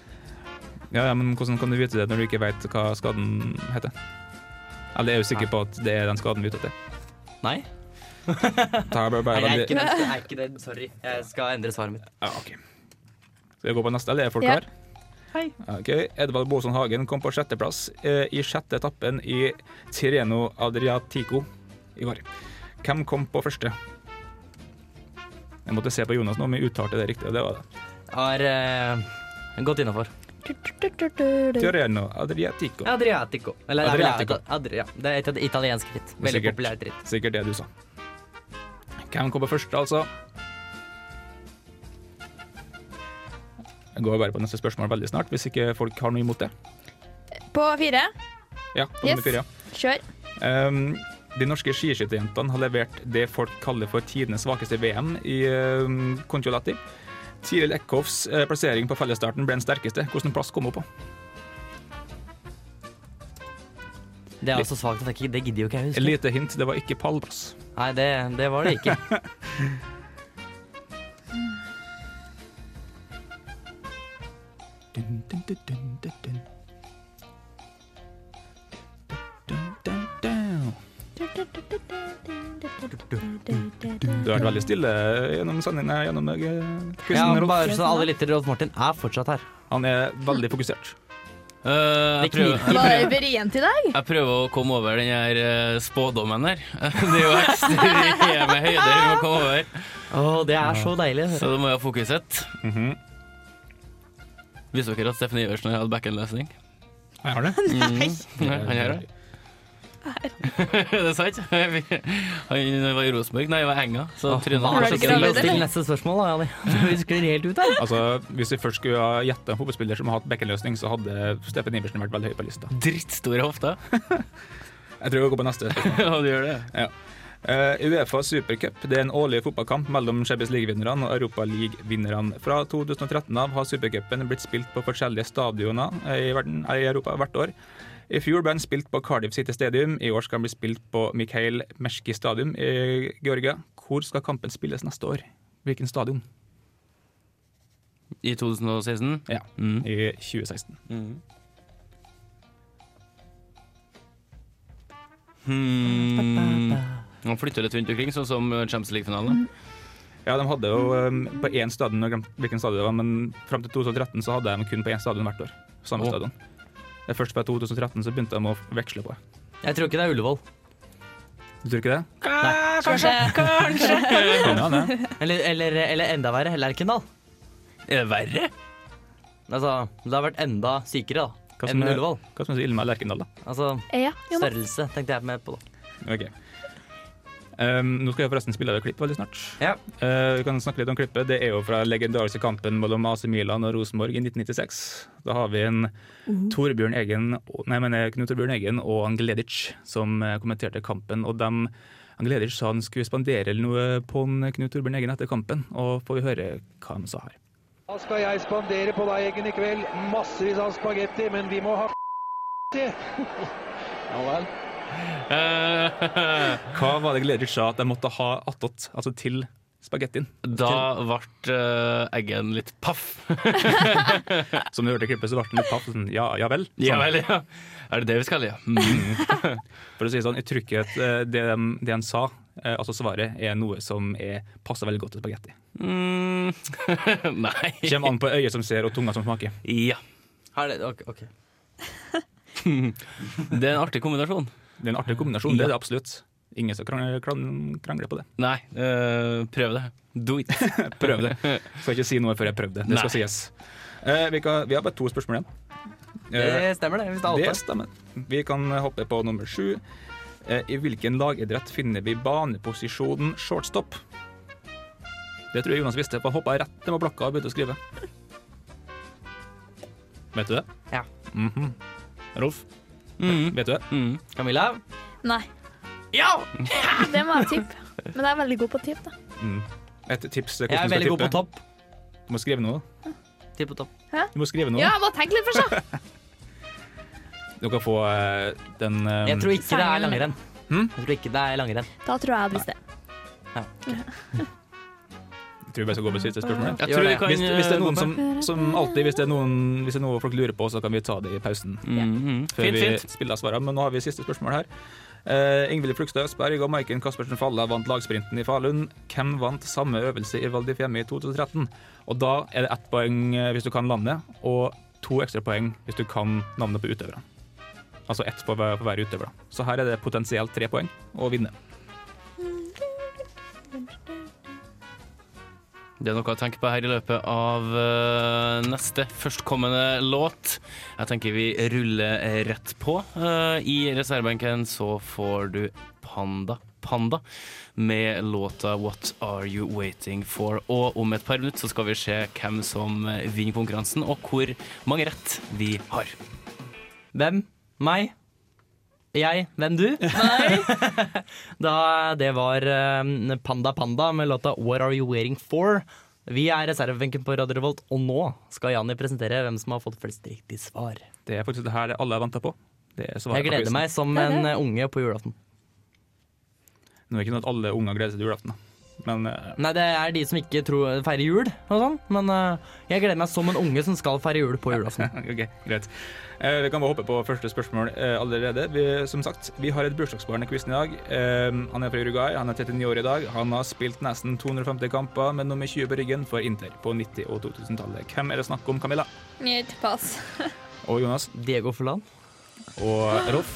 S4: Ja, ja, men hvordan kan du vite det når du ikke vet hva skaden heter? Eller er du sikker på at det er den skaden vi er ute etter?
S5: Nei?
S4: Ta bare,
S5: Nei,
S4: bare
S5: jeg er ikke
S4: veldig...
S5: den. Jeg er ikke den. Sorry. Jeg skal endre svaret mitt.
S4: Ja, ok. Skal vi gå på neste, eller er folk
S6: Ja.
S4: her?
S8: Hei.
S4: Ok, Edvald Boson Hagen kom på sjetteplass eh, i sjette etappen i Tireno Adriatico i går. Hvem kom på første? Jeg måtte se på Jonas nå, men jeg uttalte det riktig, og det var det.
S5: Har eh, gått innafor.
S6: Tututututu.
S4: Tireno Adriatico.
S5: Adriatico. Eller,
S4: Adriatico.
S5: Adriatico. Adri, ja. Det er et italiensk ritt. Veldig
S4: Sikkert.
S5: populært ritt.
S4: Sikkert det du sa. Hvem kom på første, altså? Jeg går bare på neste spørsmål veldig snart, hvis ikke folk har noe imot det.
S6: På fire,
S4: Ja, på
S6: Yes.
S4: nummer fire, ja.
S6: kjør.
S4: Ehm, de norske skiskytterjentene har levert det folk kaller for tidenes svakeste VM i um, Kontiolati. Tiril Eckhoffs eh, plassering på fellesstarten ble den sterkeste. Hvilken plass kom hun på?
S5: Det er også svakt at jeg ikke Det gidder jo ikke jeg
S4: Et
S5: huske.
S4: lite hint, det var ikke pallplass.
S5: Nei, det, det var det ikke.
S4: Dun, dun, dun, dun, dun, dun. Dun, dun, dun. Du har vært veldig stille gjennom sendingen, nei, gjennom eh,
S5: Ja,
S4: quizen, Rolf.
S5: bare sånn alle lyttere, Rolf Martin er fortsatt her.
S4: Han er veldig fokusert.
S7: Eh, jeg,
S5: Det
S7: prøver, jeg,
S6: Var
S7: prøver,
S6: vrient i dag?
S7: jeg prøver å komme over den her eh, spådommen her. Det er jo ekstreme høyder vi må komme over,
S5: Å, det er så deilig. å høre.
S7: så da må jeg ha fokuset. Mhm. Visste dere at Steffen Iversen har hatt back-end-løsning?
S4: Jeg har det.
S7: Nei, han gjør det. Er det sant? Han var i Rosenborg, nei, jeg var i Enga. Så
S5: Åh,
S7: trynet
S5: hva
S7: var
S5: er det
S7: skikkelig
S5: som
S6: gravid,
S7: løst.
S5: låst til neste spørsmål, da, Jani? Vi sklir helt ut her.
S4: Altså, Hvis vi først skulle ha gjette en fotballspiller som har hatt bekkenløsning, så hadde Steffen Iversen vært veldig høy på lista.
S7: Drittstore hofter.
S4: Jeg tror vi går på neste. spørsmål.
S7: Ja, du gjør det.
S4: Eh, Uefa supercup det er en årlig fotballkamp mellom Champions League-vinnerne og Europa League-vinnerne. Fra 2013 av har supercupen blitt spilt på forskjellige stadioner i, verden, eh, i Europa hvert år. I fjor ble den spilt på Cardiff City Stadium, i år skal den bli spilt på Mikhail Meshki Stadium i Georgia. Hvor skal kampen spilles neste år? Hvilken stadion?
S7: I 2016?
S4: Ja.
S7: Mm.
S4: I 2016. Mm.
S7: Hmm. Man flytter litt rundt omkring, sånn som Champions League-finalen.
S4: Ja, de hadde jo um, på én stadion, jeg glemte hvilken stadion det var, men fram til 2013 så hadde de kun på én stadion hvert år. Samme
S7: Å.
S4: stadion. Det er først fra 2013 så begynte de å veksle på det.
S5: Jeg tror ikke det er Ullevål.
S4: Du tror ikke det?
S5: Kanskje.
S4: Kan jo hende.
S5: Eller, eller, eller enda verre, Lerkendal.
S4: Eh,
S7: Er det verre?
S5: Altså, det har vært enda sykere, da.
S4: Hva som
S5: Enn
S4: er-
S5: Ullevål.
S4: Hva som er så ille med Lerkendal, da?
S5: Altså
S6: Ja, Jonas.
S5: størrelse, tenkte jeg med på, da.
S4: Ok. Um, nå skal jeg forresten spille av et klipp veldig snart.
S5: Ja.
S4: Uh, vi kan snakke litt om klippet. Det er jo fra legendariske kampen mellom AC Milan og Rosenborg i 1996. Da har vi en
S5: Mm.
S4: Torbjørn Egen, nei, men eh, Knut Torbjørn Egen og Angledic som eh, kommenterte kampen. Og dem, Angledic sa han skulle spandere noe på en Knut Torbjørn Egen etter kampen. Og får vi høre hva han sa her.
S10: Da skal jeg spandere på deg, Eggen, i kveld. Massevis av spagetti, men vi må ha til. Ja vel.
S4: Mm.
S7: Eh,
S4: Hva var det Angledic sa at de måtte ha attåt, altså til spagettien?
S7: da ble Eggen litt paff.
S4: Som du hørte i klippet, så ble han litt paff. Sånn, ja, ja vel. sa
S7: Ja
S4: han.
S7: vel, ja. Er det det vi skal, ja? Mm.
S4: For å si det sånn, jeg tror ikke at eh, det, det han sa, eh, altså svaret, er noe som er, passer veldig godt til spagetti.
S7: Mm. Nei.
S4: Det Kommer an på øyet som ser og tunga som smaker.
S7: Ja.
S5: Har det, ok, ok.
S7: Det er en artig kombinasjon.
S4: Det er en artig kombinasjon, det er det absolutt. Ingen som krangler, kran- krangler på det.
S7: Nei, eh, prøv det. Do it.
S4: Prøv det. Skal ikke si noe før jeg prøvde. Det skal
S7: Nei.
S4: sies. Eh, vi, kan, vi har bare to spørsmål igjen. Eh,
S5: Det stemmer, det. Hvis det er
S4: det
S5: alt.
S4: stemmer. Vi kan hoppe på nummer sju. Eh, I hvilken lagidrett finner vi baneposisjonen shortstop? Det tror jeg Jonas visste, for han hoppa rett ned på blokka og begynte å skrive. Vet du det?
S5: Ja.
S4: Mhm. Rolf,
S7: Mm.
S4: vet du det?
S7: Mm.
S5: Camilla?
S6: Nei. Ja! Det må jeg tippe. Men jeg er veldig god på tipp, da.
S4: Mm. Et tips til
S5: Jeg
S4: hvordan
S5: er
S4: du skal
S5: veldig god
S4: tippe.
S5: på topp.
S4: Du må skrive noe.
S5: Ti på topp.
S4: Du må skrive noe.
S6: Ja, bare tenk litt først, da.
S4: Du kan få eh, den eh,
S5: Jeg tror ikke det er langrenn.
S4: Hm?
S5: Jeg tror ikke det er langrenn.
S6: Da tror jeg jeg hadde visst det.
S4: Jeg tror vi bare skal gå på siste spørsmål.
S7: Jeg
S5: Gjør
S7: tror vi
S5: det.
S7: kan
S4: Hvis, hvis det er
S7: eh,
S4: noen
S7: gå på.
S4: som, som alltid, hvis det er noen hvis det er noe folk lurer på, så kan vi ta det i pausen.
S7: Mhm.
S4: Mm, Før
S7: Fint,
S4: vi
S7: fint.
S4: spiller svarene, men nå har vi siste spørsmål her. Uh, Ingvild Flugstad Østberg og Maiken Caspersen Falla vant lagsprinten i Falun. Hvem vant samme øvelse i Val di Fiemme i 2013? Og da er det ett poeng eh, hvis du kan landet, og to ekstrapoeng hvis du kan navnet på utøverne. Altså ett på hver, på hver utøver. da. Så her er det potensielt tre poeng å vinne.
S7: Det er noe å tenke på her i løpet av eh, neste førstkommende låt. Jeg tenker vi ruller rett på. Eh, I reservebenken så får du Panda. Panda med låta 'What Are You Waiting For'. Og om et par minutter så skal vi se hvem som vinner konkurransen, og hvor mange rett vi har.
S5: Hvem? Meg? Jeg? Hvem du? da, det var eh, Panda Panda med låta What Are You Waiting For? Vi er reservebenken på Radio Revolt, og nå skal Jani presentere hvem som har fått flest riktig svar.
S4: Det er faktisk det her alle har venta på. Det er svaret
S5: Jeg
S4: på
S5: gleder
S4: quizen.
S5: meg som
S6: Det er
S5: en
S6: det.
S5: eh, unge på julaften.
S4: Nå er det ikke sånn at alle unger gleder seg til julaften, da. men eh,
S5: Nei, det er de som ikke tror, feirer jul og sånn, men eh, jeg gleder meg som en unge som skal feire jul på julaften.
S4: OK, greit. Eh, vi kan bare hoppe på første spørsmål eh, allerede. Vi, som sagt, vi har et bursdagsbarn i quizen i dag. Eh, han er fra Uruguay, han er 39 år i dag. Han har spilt nesten 250 kamper med nummer 20 på ryggen for Inter på 90- og 2000-tallet. Hvem er det snakk om, Camilla?
S6: Nytt pass.
S4: Og Jonas?
S5: Diego Forlan.
S4: Og Rolf?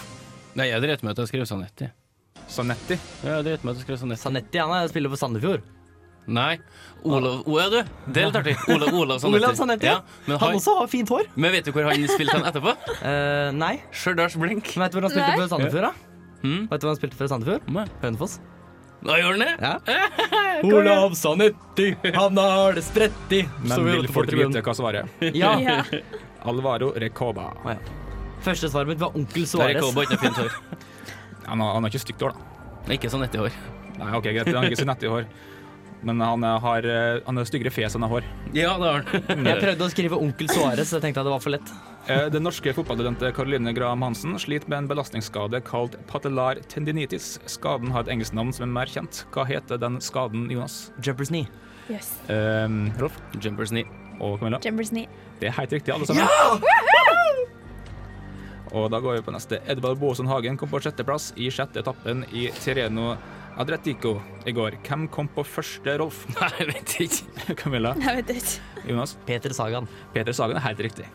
S7: Nei, jeg dreit meg ut og skrev Sanetti.
S4: Sanetti?
S7: Ja, Jeg dreit meg ut og skrev Sanetti.
S5: Sanetti han er, spiller for Sandefjord.
S7: Nei. Olav Å ja, du. Det er litt artig. Olav, Olav Sanetti.
S5: Olav Sanetti,
S7: Ja,
S5: ja.
S7: men,
S5: Han
S7: han,
S5: også har fint hår.
S7: men vet du hvor han spilte han etterpå?
S5: Eh, nei.
S7: Stjørdals Blink.
S5: Men vet du hvor han spilte
S6: Nei.
S5: for Sandefjord, da? Hm?
S7: Mm.
S5: Vet du hvor han spilte for Sandefjord?
S7: Nei.
S5: Hønefoss.
S7: Da gjør han det?
S5: Ja. Olav Sanetti, han har det spretti. Så
S4: Men
S5: vi
S4: vil
S5: roter på
S4: folk
S5: tribunen.
S4: vite hva svaret er?
S5: Ja.
S6: Ja.
S4: Alvaro Recoba.
S5: Å, ja. Første svaret mitt var
S7: Der
S5: onkel
S7: er
S5: Suárez.
S7: cowboy, ikke noe fint hår.
S4: Han har, han har ikke stygt hår, da.
S7: Nei, Ikke sånn etter hår.
S4: Nei, OK, greit, han har ikke Sanetti hår. Men han er- har, eh, han har styggere fjes enn han har hår.
S7: Ja, det har han.
S5: Jeg prøvde å skrive onkel Suárez, så jeg tenkte at det var for lett.
S4: Eh, Den norske fotballtalentet Caroline Graham Hansen sliter med en belastningsskade kalt patellar tendinitis. Skaden har et engelsk navn som er mer kjent. Hva heter den skaden, Jonas?
S5: Jumpers knee.
S6: Yes.
S4: Eh,
S5: Ehm,
S4: Rolf
S7: Jumpers knee.
S4: og Camilla?
S6: Chambers 9.
S4: Det er helt riktig, alle sammen. Og da går vi på neste. Edvard Boasson Hagen kom på sjetteplass i sjette etappen i Tireno Adretico i går. Hvem kom på første, Rolf?
S7: Nei, jeg vet ikke.
S4: Camilla?
S6: Jeg vet ikke.
S4: Jonas?
S5: Peter Sagan.
S4: Peter Sagen er helt riktig.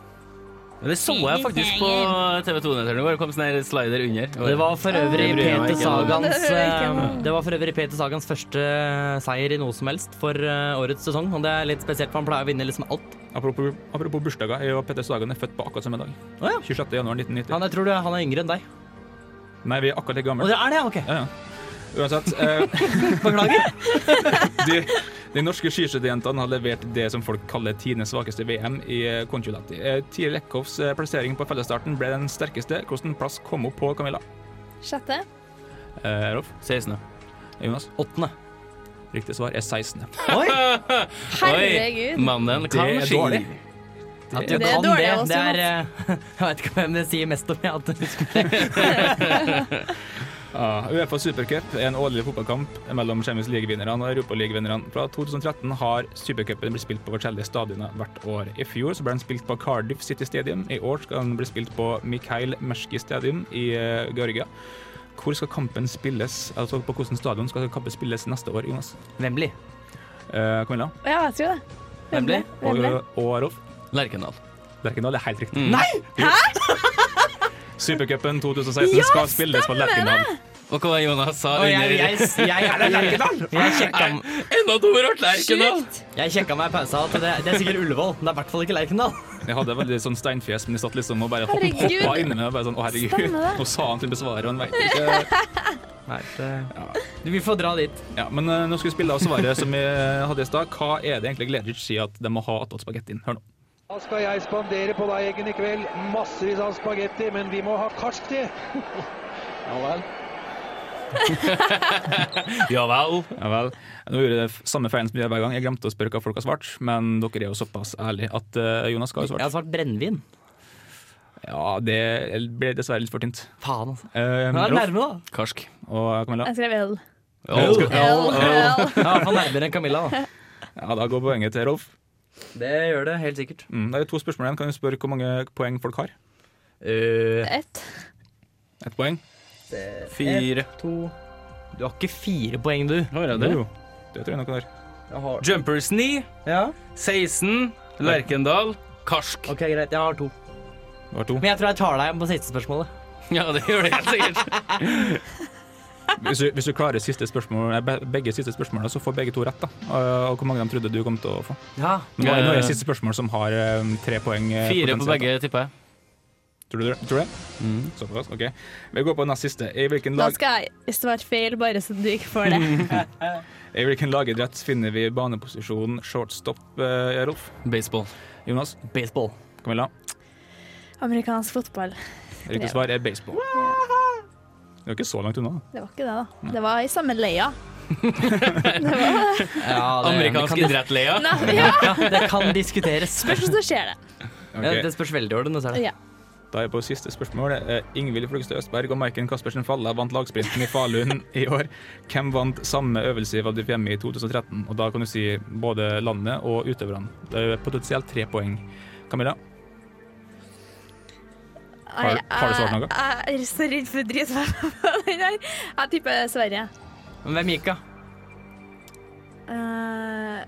S7: Det så jeg faktisk på TV 2-netteren i går. Det kom sånn her slider under.
S5: Det var for øvrig
S7: Det bryr jeg meg
S5: Peter
S7: ikke om.
S5: Sagans
S6: Det hører jeg ikke om.
S5: eh, Det var for øvrig Peter Sagans første eh, seier i noe som helst for eh, årets sesong. Og det er litt spesielt, for han pleier å vinne liksom alt.
S4: Apropos, apropos bursdager, jeg og Peter Sagen er født på akkurat samme dag.
S5: Å ja.
S4: 26. januar 1990.
S5: Han, jeg tror du, han er yngre enn deg.
S4: Nei, vi er akkurat like gamle.
S5: Og det er det, OK.
S4: Ja, ja. Uansett. eh,
S5: Beklager.
S4: de, de norske skiskytterjentene har levert det som folk kaller tidenes svakeste VM i eh, Konchulati. Eh, Tiril Eckhoffs eh, plassering på fellesstarten ble den sterkeste. Hvilken plass kom hun på, Camilla?
S6: Sjette.
S4: Eh, Rolf?
S7: 16.
S4: Jonas?
S5: Åttende.
S4: Riktig svar er 16.
S5: Oi!
S6: Herregud.
S7: Oi, mannen kan
S4: Det er
S7: ski.
S4: dårlig.
S5: At du
S6: Det er
S5: kan
S6: dårlig
S5: det,
S6: av oss,
S5: det er eh, Jeg vet ikke hvem det sier mest om, jeg. At du skulle
S4: Ja, Uefa Supercup er en årlig fotballkamp mellom Champions League-vinnerne og Europaliga-vinnerne. Fra 2013 har supercupen blitt spilt på forskjellige stadioner hvert år. I fjor så ble den spilt på Cardiff City Stadium, i år skal den bli spilt på Mikhail Meshki Stadium i eh, Georgia. Hvor skal kampen spilles, altså på hvilken stadion skal kampen spilles neste år, Jonas?
S5: Vembley.
S4: Eh, Camilla
S6: Ja, jeg tror det.
S5: Wembley?
S4: og,
S6: Vemble.
S4: og Rolf?
S7: Lerkendal.
S4: Lerkendal er helt riktig.
S7: Mm. Nei!
S4: Supercupen 2016 skal spilles på Lerkendal.
S7: Og hva var Jonas sa
S5: Og jeg,
S7: under
S5: jeg, jeg, jeg, jeg, sjekka,
S7: Enda dummere ble Lerkendal!
S6: Sjukt.
S5: jeg sjekka meg i pausa at det, det er sikkert Ullevål. Det er i hvert fall ikke Lerkendal.
S4: Jeg hadde veldig sånn steinfjes, men jeg satt liksom og bare hopp-
S6: Herregud.
S4: hoppa inni meg. og Bare sånn, å herregud,
S6: Stemmer det.
S4: nå sa han til besvaret, og han veit ikke.
S5: Nei, det, du, vi får dra dit.
S4: Ja, men eh, nå skal vi spille av svaret som vi eh, hadde i stad. Hva er det egentlig Gleditsch sier at de må ha attåt spagettien? Hør nå.
S10: Da skal jeg spandere på deg, Eggen, i kveld. Massevis av spagetti, men vi må ha karsk til. ja vel.
S7: Ja vel.
S4: Ja vel. Nå gjorde jeg det samme feilen som jeg gjør hver gang. Jeg glemte å spørre hva folk har svart, men dere er jo såpass ærlige at eh, Jonas skal ha
S5: Jeg har
S4: svart.
S5: svart brennevin.
S4: Ja, det ble dessverre litt for tynt.
S5: Faen, altså.
S4: Eh,
S5: Det var
S4: Rolf
S5: nærme, da.
S7: Karsk.
S4: og Camilla.
S6: Jeg skrev L.
S4: Oh.
S6: L, L.
S5: Ja, i hvert fall nærmere enn Camilla, da.
S4: Ja, da går poenget til Rolf.
S5: Det gjør det helt sikkert.
S4: Mm, det er jo to spørsmål igjen. Kan du spørre hvor mange poeng folk har?
S5: Uh,
S6: Ett.
S4: Ett poeng?
S7: Fire.
S5: to Du har ikke fire poeng, du.
S7: Har jeg det?
S4: Jo, det tror jeg nok han har.
S5: Jeg har
S7: Jumpers 9,
S5: Ja,
S7: 16, Lerkendal, Karsk.
S5: OK, greit. Jeg har to.
S4: Det var to.
S5: Men jeg tror jeg tar deg på siste spørsmålet.
S7: Ja, det gjør det helt sikkert.
S4: Hvis du, hvis du klarer siste spørsmål, nei, be- begge siste spørsmålene, så får begge to rett. da. Eh, Og- Og hvor mange av dem trodde du kom til å få?
S5: Ja.
S4: Men nå er- nå er det
S7: Eh.
S4: siste spørsmål som har eh, tre poeng. eh,
S7: Fire på
S4: potensielt, da.
S7: begge, Mm. tipper jeg.
S4: Tror du det? Tror du det? Såpass, ok. Vi går på nest siste. I hvilken,
S6: Da
S4: lag,
S6: skal jeg svare feil, bare så du ikke får det.
S4: I hvilken lagidrett finner vi baneposisjonen shortstop, eh, Rolf?
S7: Baseball.
S4: Jonas?
S5: Baseball.
S4: Camilla?
S6: Amerikansk fotball.
S4: Riktig svar er baseball. Det var ikke så langt unna. da.
S6: Det var ikke det, da. Det var i samme leia. Det var
S5: Ja,
S7: Amerikansk
S5: det,
S7: idrett, Lea.
S6: Nei, ja.
S5: kan, det kan diskuteres.
S6: Spørs hvordan det skjer, det.
S5: Ja,
S4: Ok,
S5: det spørs veldig altså. organisert.
S6: Ja.
S4: Da er jeg på siste spørsmål. Eh, Ingvild Flugstad Østberg og Maiken Caspersen Falla vant lagsprinten i Falun i år. Hvem vant samme øvelse i Valdrefjemme i 2013? Og da kan du si både landet og utøverne. Det er potensielt tre poeng. Camilla? Har- har du svart noe?
S6: Jeg, jeg er så redd for drit på den her. Jeg tipper Sverige.
S5: Men hvem gikk, da?
S6: Eh,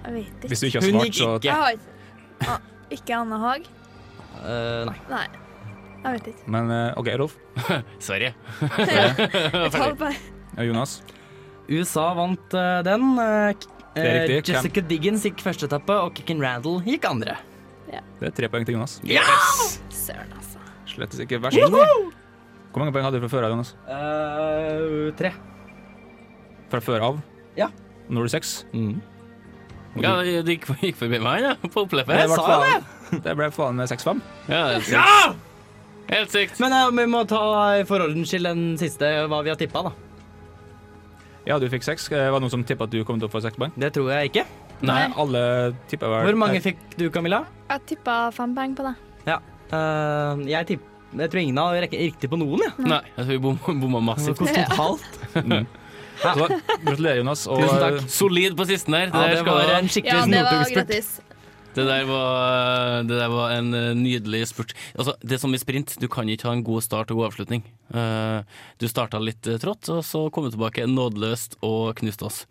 S6: jeg vet ikke.
S4: Hvis du ikke har
S5: Hun
S4: svart,
S5: gikk
S4: så
S5: ikke.
S6: Jeg har ikke ah, Ikke Anne Haag?
S5: Eh, nei.
S6: Nei. Jeg vet ikke.
S4: Men eh, OK, Rolf.
S7: Sverige.
S6: Jeg tar bare
S4: Ja, Jonas.
S5: USA vant eh, den. Eh, k-
S4: Det er riktig.
S5: eh, Jessica Diggins gikk første etappe, og Kicken Randall gikk andre.
S4: Det er tre poeng til Jonas.
S7: Yes!
S6: Søren, altså.
S4: Slettes ikke verst. Hvor mange poeng hadde du fra før av, Jonas?
S5: Eh, tre.
S4: Fra før av?
S5: Ja.
S4: Nå er du seks.
S5: Eh,
S7: Ja, det gikk, gikk forbi meg, ja. På
S5: Jeg
S7: oppløpet.
S5: sa jo det!
S4: Det ble faen meg seks-fem.
S7: Ja! det er sykt. Helt sykt.
S5: Men eh, vi må ta eh, for ordens skyld den siste, hva vi har tippa, da.
S4: Ja, du fikk seks. Eh, Var det noen som tippa at du kom til å få seks poeng?
S5: Det tror jeg ikke.
S4: Nei, alle tippa vel
S5: Hvor mange fikk du, Camilla?
S6: Jeg tippa fem poeng på det.
S5: Eh, jeg, tipp, jeg tror ingen har rekk- riktig på noen, jeg.
S7: Nei, jeg tror vi bom- bomma
S5: Det
S7: massivt.
S5: koster totalt.
S4: Så da, gratulerer, Jonas. Og eh,
S5: Tusen takk.
S7: eh, Solid på sisten der. Det,
S5: Ja,
S7: der
S5: det
S7: skal
S5: var
S7: ha.
S5: en skikkelig
S6: Ja, det var
S5: snopeulspurt.
S6: gratis.
S7: det, der var, det der var en eh, nydelig spurt. Altså, det er som i sprint, du kan ikke ha en god start og god avslutning. Eh, du starta litt eh, trått, og så kom du tilbake nådeløst og knuste oss.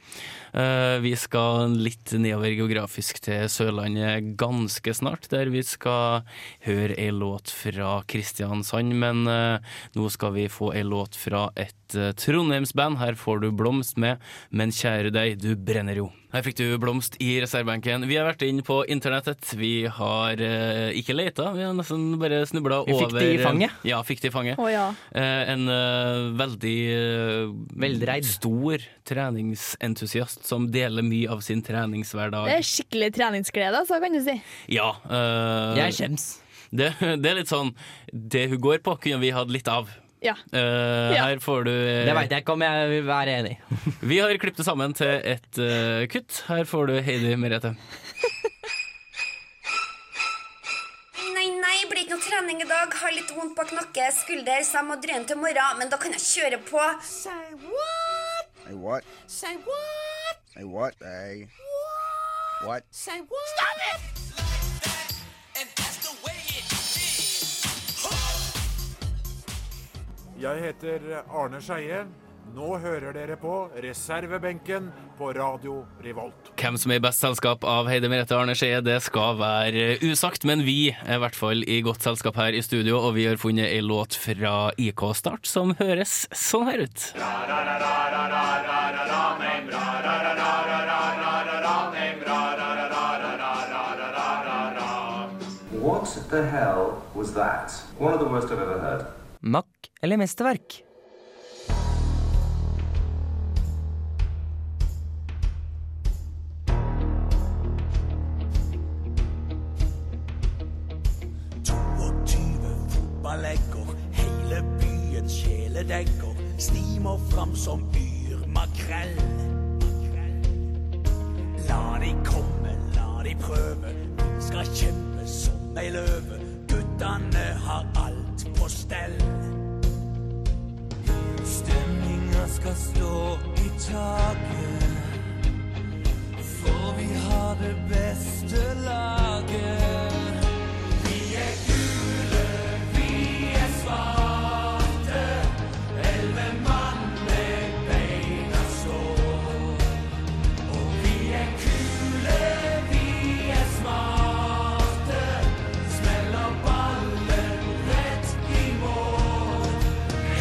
S7: Eh, vi skal litt nedover geografisk til Sørlandet ganske snart, der vi skal høre ei låt fra Kristiansand. Men eh, nå skal vi få ei låt fra et eh, Trondheimsband. Her får du Blomst med 'Men kjære deg, du brenner jo'. Her fikk du Blomst i reservebenken. Vi har vært inn på internettet. Vi har eh, ikke leita, vi har nesten bare snubla
S5: Vi
S7: over
S5: fikk det i fanget.
S7: Ja, fikk det i fanget.
S6: Å ja.
S7: Eh, en eh, veldig eh,
S5: Veldreid.
S7: stor treningsentusiast som deler mye av sin treningshverdag.
S6: Det er skikkelig treningsglede, altså, kan du si.
S7: Ja. eh,
S5: Jeg kjems.
S7: det, det er litt sånn Det hun går på, kunne vi hatt litt av.
S6: Ja.
S7: Eh,
S6: Ja.
S7: Her får du eh,
S5: Det veit jeg ikke om jeg vil være enig i.
S7: Vi har klippet det sammen til et eh, kutt. Her får du Heidi Merete.
S11: Nei, nei, blir ikke noe trening i dag. Har litt vondt bak nakke, skulder, så jeg må drøye den til morgen. Men da kan jeg kjøre på.
S10: Say what? Say what? Say what? What?
S2: Jeg heter Arne Skeie. Nå hører dere på reservebenken på Radio Revolt.
S7: Hvem som er i best selskap av Heidi Merete og Arne Skeie, det skal være eh, usagt, men vi er i hvert fall i godt selskap her i studio, og vi har funnet ei låt fra IK Start som høres sånn her ut.
S10: What the hell was that? One of the worst I've ever heard.
S5: Mack eller mesterverk?
S2: Hele byens sjeler
S12: dekk og snimer fram som yr makrell. La de komme, la de prøve, skal kjempe som ei løve. Guttane har alt på stell. Stemninga skal stå i taket, for vi har det beste laget. Vi er gule, vi er svarte, elleve mann med beina slå. Og vi er kule, vi er smarte. Smeller ballen rett i mål.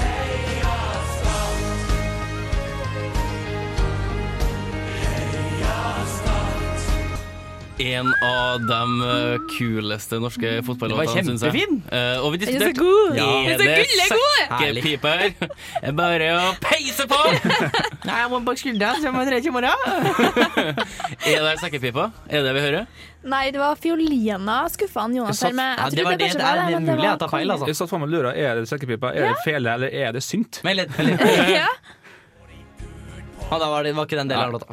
S12: Heia Start. Heia Start.
S7: En av de kuleste norske fotballåtene,
S5: Den var
S7: syns jeg.
S5: kjempefin.
S7: Eh, og vi
S5: Den er så
S7: diskuterte
S5: god.
S7: Er
S5: Den er så
S7: det
S5: gullegod.
S7: sekkepiper. Det er Bare å peise på!
S13: Nei, jeg må bak skuldra, så jeg må trene i morgen.
S7: Er det sekkepipa? Er det vi hører?
S6: Nei, det var fiolina skuffa han Jonas her med. Jeg trodde kanskje var men var
S5: altså.
S6: kongen.
S4: Jeg satt for meg lura. Er det sekkepipa, er det fele, eller er det synt?
S5: Vent litt.
S6: ja.
S5: Ah, da var, det, var ikke den delen av låta.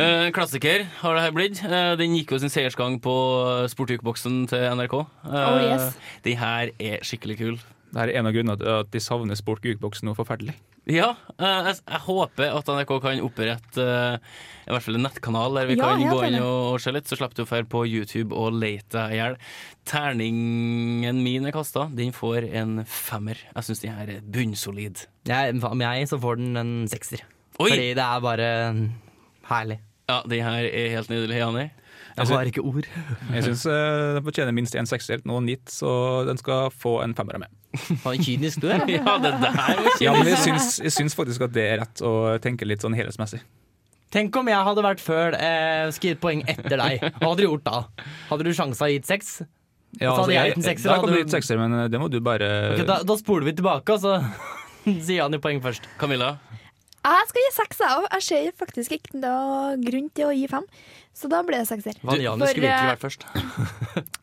S7: Eh, En klassiker har det her blitt. Eh, Den gikk jo sin seiersgang på sportukeboksen til NRK. Eh,
S4: Oh, yes.
S7: De her er skikkelig kul.
S4: Det er en av grunnene til at de savner Sport Gukeboks noe forferdelig.
S7: Ja, eh, jeg, jeg håper at NRK kan opprette eh, i hvert fall en nettkanal der vi
S4: Ja,
S7: kan
S4: helt
S7: gå inn
S4: enig.
S7: og, og se litt. Så slipper du å dra på YouTube og lete deg i hjel. Terningen min er kasta. Den får en femmer. Jeg syns den her er bunnsolid.
S5: Jeg, om jeg, så får den en sekser.
S7: Oi!
S5: Fordi det er bare mm, herlig.
S7: Ja, den her er helt nydelig, Jani.
S5: Jeg har ikke ord.
S4: Jeg syns den fortjener minst en sekser, noen nitt, så den skal få en femmer av meg.
S5: Faen, kynisk du
S7: er. Ja, det der var kynisk.
S4: Ja, men jeg syns, jeg syns faktisk at det er rett å tenke litt sånn helhetsmessig.
S5: Tenk om jeg hadde vært før eh, skrevet poeng etter deg. Hva hadde du gjort da? Hadde du sjansa gitt seks?
S4: Ja, altså,
S5: så hadde jeg
S4: jeg-
S5: gitt en sekser.
S4: Da
S5: hadde
S4: kan du
S5: du-
S4: gitt sekser, men eh, det må du bare
S5: Ok, da, da spoler vi tilbake, og så sier han jo poeng først.
S7: Camilla?
S6: Jeg skal gi seks, jeg òg. Jeg ser faktisk ikke noe grunn til å gi fem. Så da ble det sekser. For, eh,
S7: først.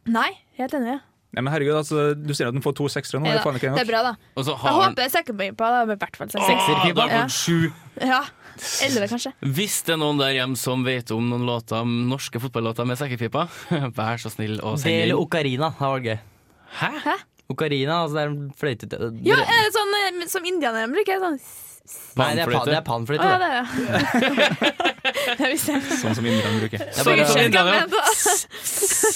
S6: Nei, helt enig.
S4: Nei, men herregud, altså, du ser at den får to seksere nå.
S6: Nei
S4: Det
S6: da,
S4: er faen ikke
S6: det er
S4: nok.
S6: bra, da.
S7: Og så
S6: Jeg
S4: har han-
S6: håper sekkepipa da, med i hvert fall sekser.
S7: da får
S6: Ja.
S7: den sju.
S6: Ja. Elleve, kanskje.
S7: Hvis det er noen der hjemme som vet om noen låter, norske fotballåter med sekkepipa, vær så snill å
S5: Det
S7: sende
S5: gjelder
S7: inn.
S5: okarina. Det var gøy.
S7: Hæ?
S5: Okarina, altså det er en fløyte...
S6: Ja, er det sånn eh, som indianerne bruker? Sånn
S5: Nei, det er, pa, det er panfløyte.
S6: Å, ja,
S5: det.
S6: det er det. det visste jeg.
S4: Sånn som inderne bruker.
S5: Jeg bare-
S6: Skjønner hva jeg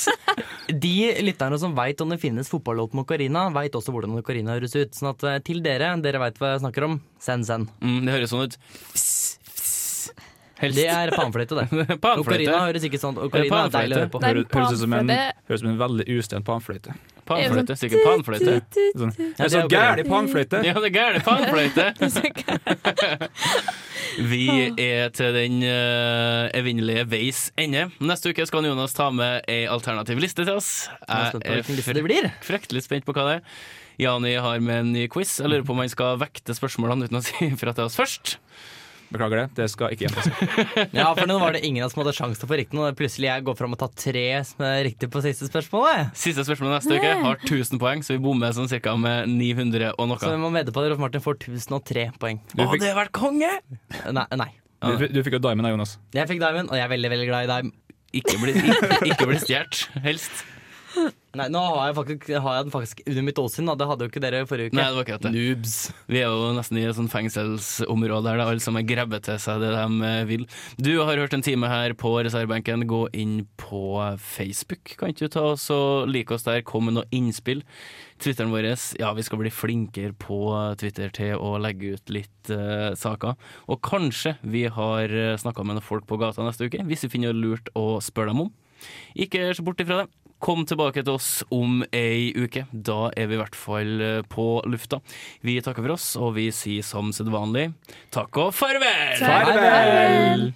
S6: mente.
S5: De lytterne som veit om det finnes fotballåt med okarina, veit også hvordan okarina høres ut. Sånn at eh, til dere, dere veit hva jeg snakker om, send send.
S7: Mm, det høres sånn ut.
S5: Det er panfløyte, det.
S7: Panfløyte.
S5: Okarina høres ikke sånn Okarina er deilig å høre på.
S6: Det er en
S4: Høres høres ut som en,
S6: panfløyte.
S4: høres ut som en veldig ustønt panfløyte.
S7: Panfløyte, Er det sånn sikkert panfløyte. tut, tut,
S4: Sånn,
S7: tut,
S4: det er så
S7: tut, tut.
S4: gæli panfløyte!
S7: Ja, det er gæli panfløyte. Vi er til den eh, evinnelige veis ende. Neste uke skal Jonas ta med ei alternativ liste til oss.
S5: Jeg er
S7: Eh,
S5: spent på hvilken liste det
S7: frek-
S5: blir.
S7: fryktelig spent på hva det er. Jani har med en ny quiz. Jeg lurer på om han skal vekte spørsmålene uten å si fra til oss først.
S4: Beklager det, det skal ikke gjentas.
S5: Ja, for nå var det ingen av oss som hadde sjanse til å få riktig noe. Plutselig jeg går fram og tar tre som er riktig på siste spørsmålet.
S7: Siste spørsmål neste uke har 1000 poeng, så vi bommer sånn ca. med 900 og
S5: Så
S7: noe.
S5: vi må vedde på at Rolf Martin får 1003 poeng.
S7: Å, det har vært konge!
S5: Nei. nei.
S4: Du, du fikk jo diamond da, Jonas.
S5: Jeg fikk Diamond, og jeg er veldig veldig glad i Diamond.
S7: Ikke bli, ikke, ikke bli stjålet, helst.
S5: Nei, nå har jeg, faktisk, har jeg den faktisk under mitt åsyn, da. Det hadde jo ikke dere forrige uke.
S7: Nei, det var ikke det.
S5: Noobs.
S7: Vi er jo nesten i et sånt fengselsområde her, da alle sammen grabber til seg det de eh, vil. Du har hørt en time her på reservebenken. Gå inn på Facebook, kan ikke du ta oss og like oss der. Kom med noe innspill. Twitteren vår, ja, vi skal bli flinkere på Twitter til å legge ut litt eh, saker. Og kanskje vi har snakka med noen folk på gata neste uke, hvis vi finner noe lurt å spørre dem om. Ikke se bort ifra det. Kom tilbake til oss om ei uke. Da er vi i hvert fall eh, på lufta. Vi takker for oss, og vi sier som sedvanlig takk og farvel!
S4: Farvel!